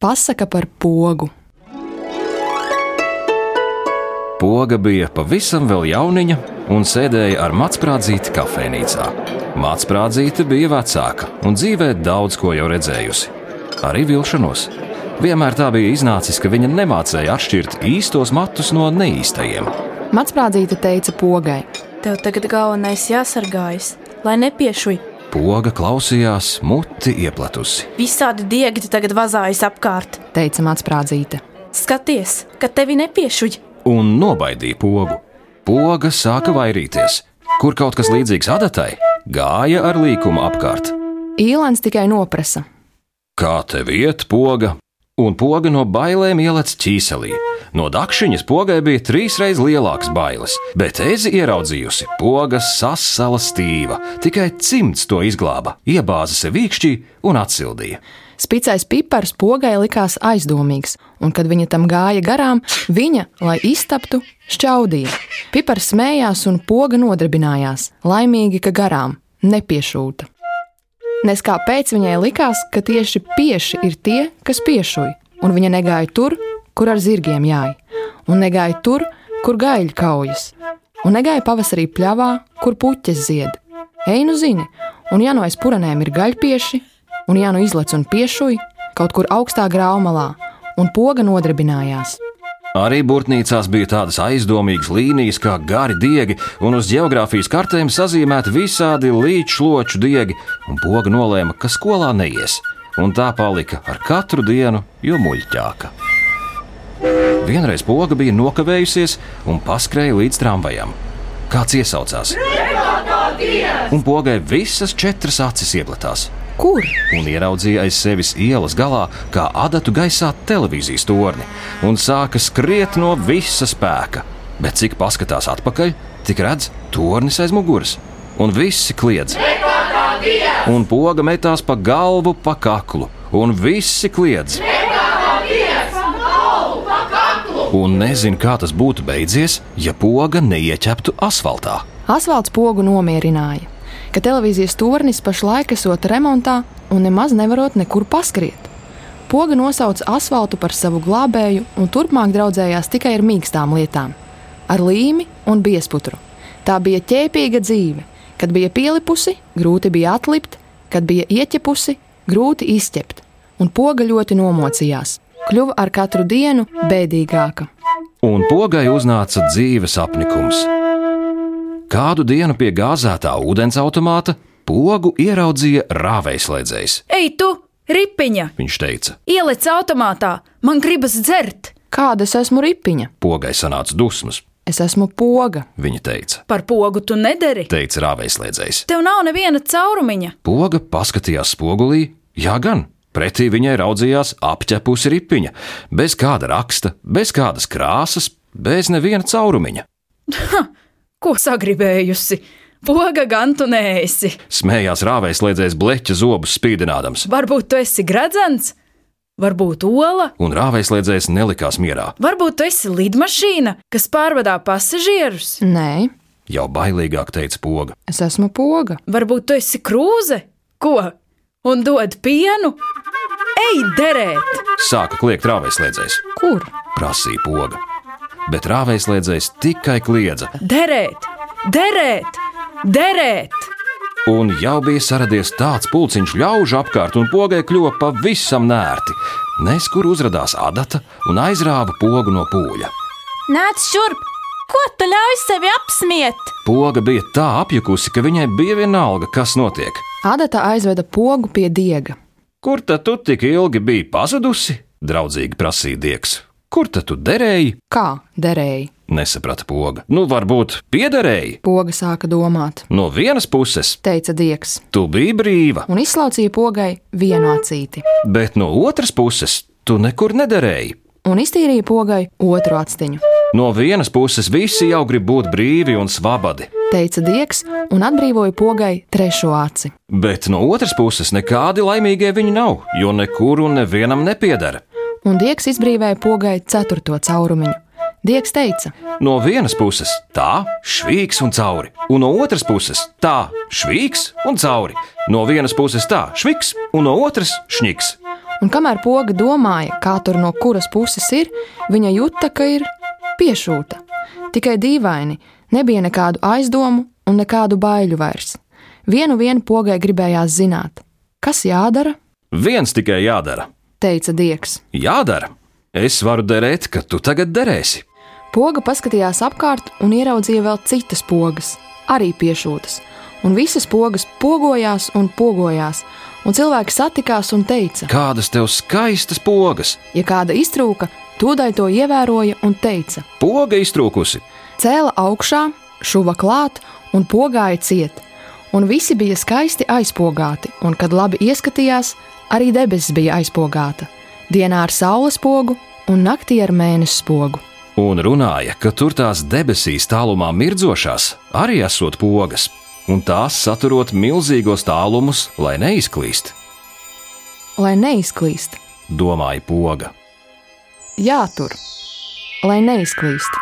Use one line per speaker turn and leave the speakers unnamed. Pasaka par pogu.
Poga bija pavisam vēl jauniņa un sēdēja ar Matsprādzīti kafejnīcā. Matsprādzīte bija vecāka un dzīvē daudz ko jau redzējusi. Arī vilšanos. Vienmēr tā bija iznācis, ka viņa nemācēja atšķirt īstos matus no neīstajiem.
Matsprādzīte teica pogai.
Tev tagad galvenais jāsargājas, lai nepiešuj.
Poga klausījās, muti iepletusi.
Visādi diegti tagad vazājas apkārt.
Teica Matsprādzīte.
Skaties, ka tevi nepiešuj.
un nobaidīja pogu. Poga sāka vairīties, kur kaut kas līdzīgs adatai gāja ar līkumu apkārt.
Īlēns tikai noprasa.
Kā tev iet, poga? Un poga no bailēm ielec ķīselī. No dakšiņas pogai bija trīsreiz lielāks bailes, bet ezi ieraudzījusi, poga sasala stīva. Tikai cimds to izglāba, iebāza sev īkšķī un atsildīja.
Spicais pipars pogai likās aizdomīgs, un, kad viņa tam gāja garām, viņa, lai iztaptu, šķaudīja. Pipars smējās un poga nodarbinājās, laimīgi, ka garām nepiešūta. Nes kāpēc viņai likās, ka tieši pieši ir tie, kas piešuj, un viņa negāja tur, kur ar zirgiem jāj, un negāja tur, kur gaļa kaujas, un negāja pavasarī pļavā, kur puķes zied. Ej, nu zini, un ja no aiz puranēm ir gaļpieši, un ja nu izlec un piešuj, kaut kur augstā graumalā, un poga nodarbinājās.
Arī būrtnīcās bija tādas aizdomīgas līnijas, kā gari diegi, un uz geogrāfijas kartēm sazīmēti visādi līčloču diegi, un poga nolēma, ka skolā neies, un tā palika ar katru dienu, jo muļķāka. Vienreiz poga bija nokavējusies un paskrēja līdz tramvajam. Kāds iesaucās, un pogai visas četras acis ieplatās
Kur?
un ieraudzīja aiz sevis ielas galā, kā adatu gaisā televīzijas torni, un sāka skriet no visa spēka. Bet cik paskatās atpakaļ, tik redz tornis aiz muguras, un visi kliedz. Un poga metās pa galvu, pa kaklu, un visi kliedz. Un nezinu, kā tas būtu beidzies, ja poga neieķeptu asfaltā.
Asfalts pogu nomierināja, ka televīzijas tornis pašlaik esot remontā un nemaz nevarot nekur paskriet. Poga nosauca asfaltu par savu glābēju un turpmāk draudzējās tikai ar mīkstām lietām - ar līmi un biesputru. Tā bija ķēpīga dzīve. Kad bija pielipusi, grūti bija atlipt, kad bija ieķepusi, grūti izķept, un poga ļoti nomocījās. Kļuva ar katru dienu bēdīgāka.
un pogai uznāca dzīves apnikums. Kādu dienu pie gāzētā ūdens automāta pogu ieraudzīja rāvējslēdzējs.
Ei, tu, ripiņa!
Viņš teica,
Ieliec automātā, man gribas dzert
Kāda es esmu ripiņa?
pogai sanāca dusmas.
Es esmu poga.
Viņa teica,
par pogu, tu nedari.
teica rāvējslēdzējs.
Tev nav neviena caurumiņa.
Poga paskatījās spogulī, jā, gan. Pretī viņai raudzījās apķepusi ripiņa, bez kāda raksta, bez kādas krāsas, bez neviena caurumiņa.
Ko sagribējusi? Poga gan tu neesi.
Smējās rāvējslēdzējs bleķa zobus spīdinādams,
Varbūt tu esi gradzens, varbūt ola,
un rāvējslēdzējs nelikās mierā.
varbūt tu esi lidmašīna, kas pārvadā pasažierus.
Nē,
Jau bailīgāk teica poga.
es esmu poga.
Varbūt tu esi krūze, ko? Un dod pienu? Ej, derēt!
Sāka kliegt rāvējslēdzējs,
Kur?
prasīja poga. Bet rāvējslēdzējs tikai kliedza,
Derēt, derēt, derēt!
un jau bija saradies tāds pulciņš ļaužu apkārt, un pogai kļuva pavisam nērti. Nes kur uzrādījās adata un aizrāva pogu no pūļa.
Nāc šurp! Ko tu ļauj sevi apsmiet?
Poga bija tā apjukusi, ka viņai bija vienalga, kas notiek.
Adata aizveda pogu pie diega.
Kur tad tu tik ilgi biji pazudusi? draudzīgi prasīja Dieks. Kur tad tu derēji?
Kā derēja?
Nesaprata poga. Nu, varbūt piederēji.
Poga sāka domāt,
No vienas puses,
teica Dieks,
tu biji brīva,
un izslaucīja pogai vienu acīti,
bet no otras puses, tu nekur nederēji.
un iztīrīja pogai otru actiņu.
No vienas puses, visi jau grib būt brīvi un svabadi,
Teica Dieks, un atbrīvoja pogai trešo aci.
bet no otras puses, nekādi laimīgie viņi nav, jo nekur un nevienam nepiedara.
Un Dieks izbrīvēja pogai ceturto caurumiņu. Dieks teica,
No vienas puses, tā, švīks un cauri, un no otras puses, tā, švīks un cauri. No vienas puses, tā, švīks, un no otras, šņiks.
Un kamēr poga domāja, kā tur no kuras puses ir, viņa jūta, ka ir piešūta. Tikai dīvaini, nebija nekādu aizdomu un nekādu baiļu vairs. Vienu vienu pogai gribējās zināt, kas jādara,
Viens tikai jādara.
teica Dieks.
Jādara! Es varu derēt, ka tu tagad derēsi.
Poga paskatījās apkārt un ieraudzīja vēl citas pogas, arī piešūtas. Un visas pogas pogojās un pogojās, un cilvēki satikās un teica,
Kādas tev skaistas pogas!
ja kāda iztrūka, tūdaļ to ievēroja un teica:
Poga iztrūkusi!
cēla augšā, šuva klāt un pogāja ciet. Un visi bija skaisti aizpogāti, un, kad labi ieskatījās, arī debesis bija aizpogāta. Dienā ar saules pogu un naktī ar mēnesi pogu.
Un runāja, ka tur tās debesīs tālumā mirdzošās arī esot pogas, un tās saturot milzīgos tālumus, lai neizklīst,
Lai neizklīst,
domāja poga.
jātur, lai neizklīst.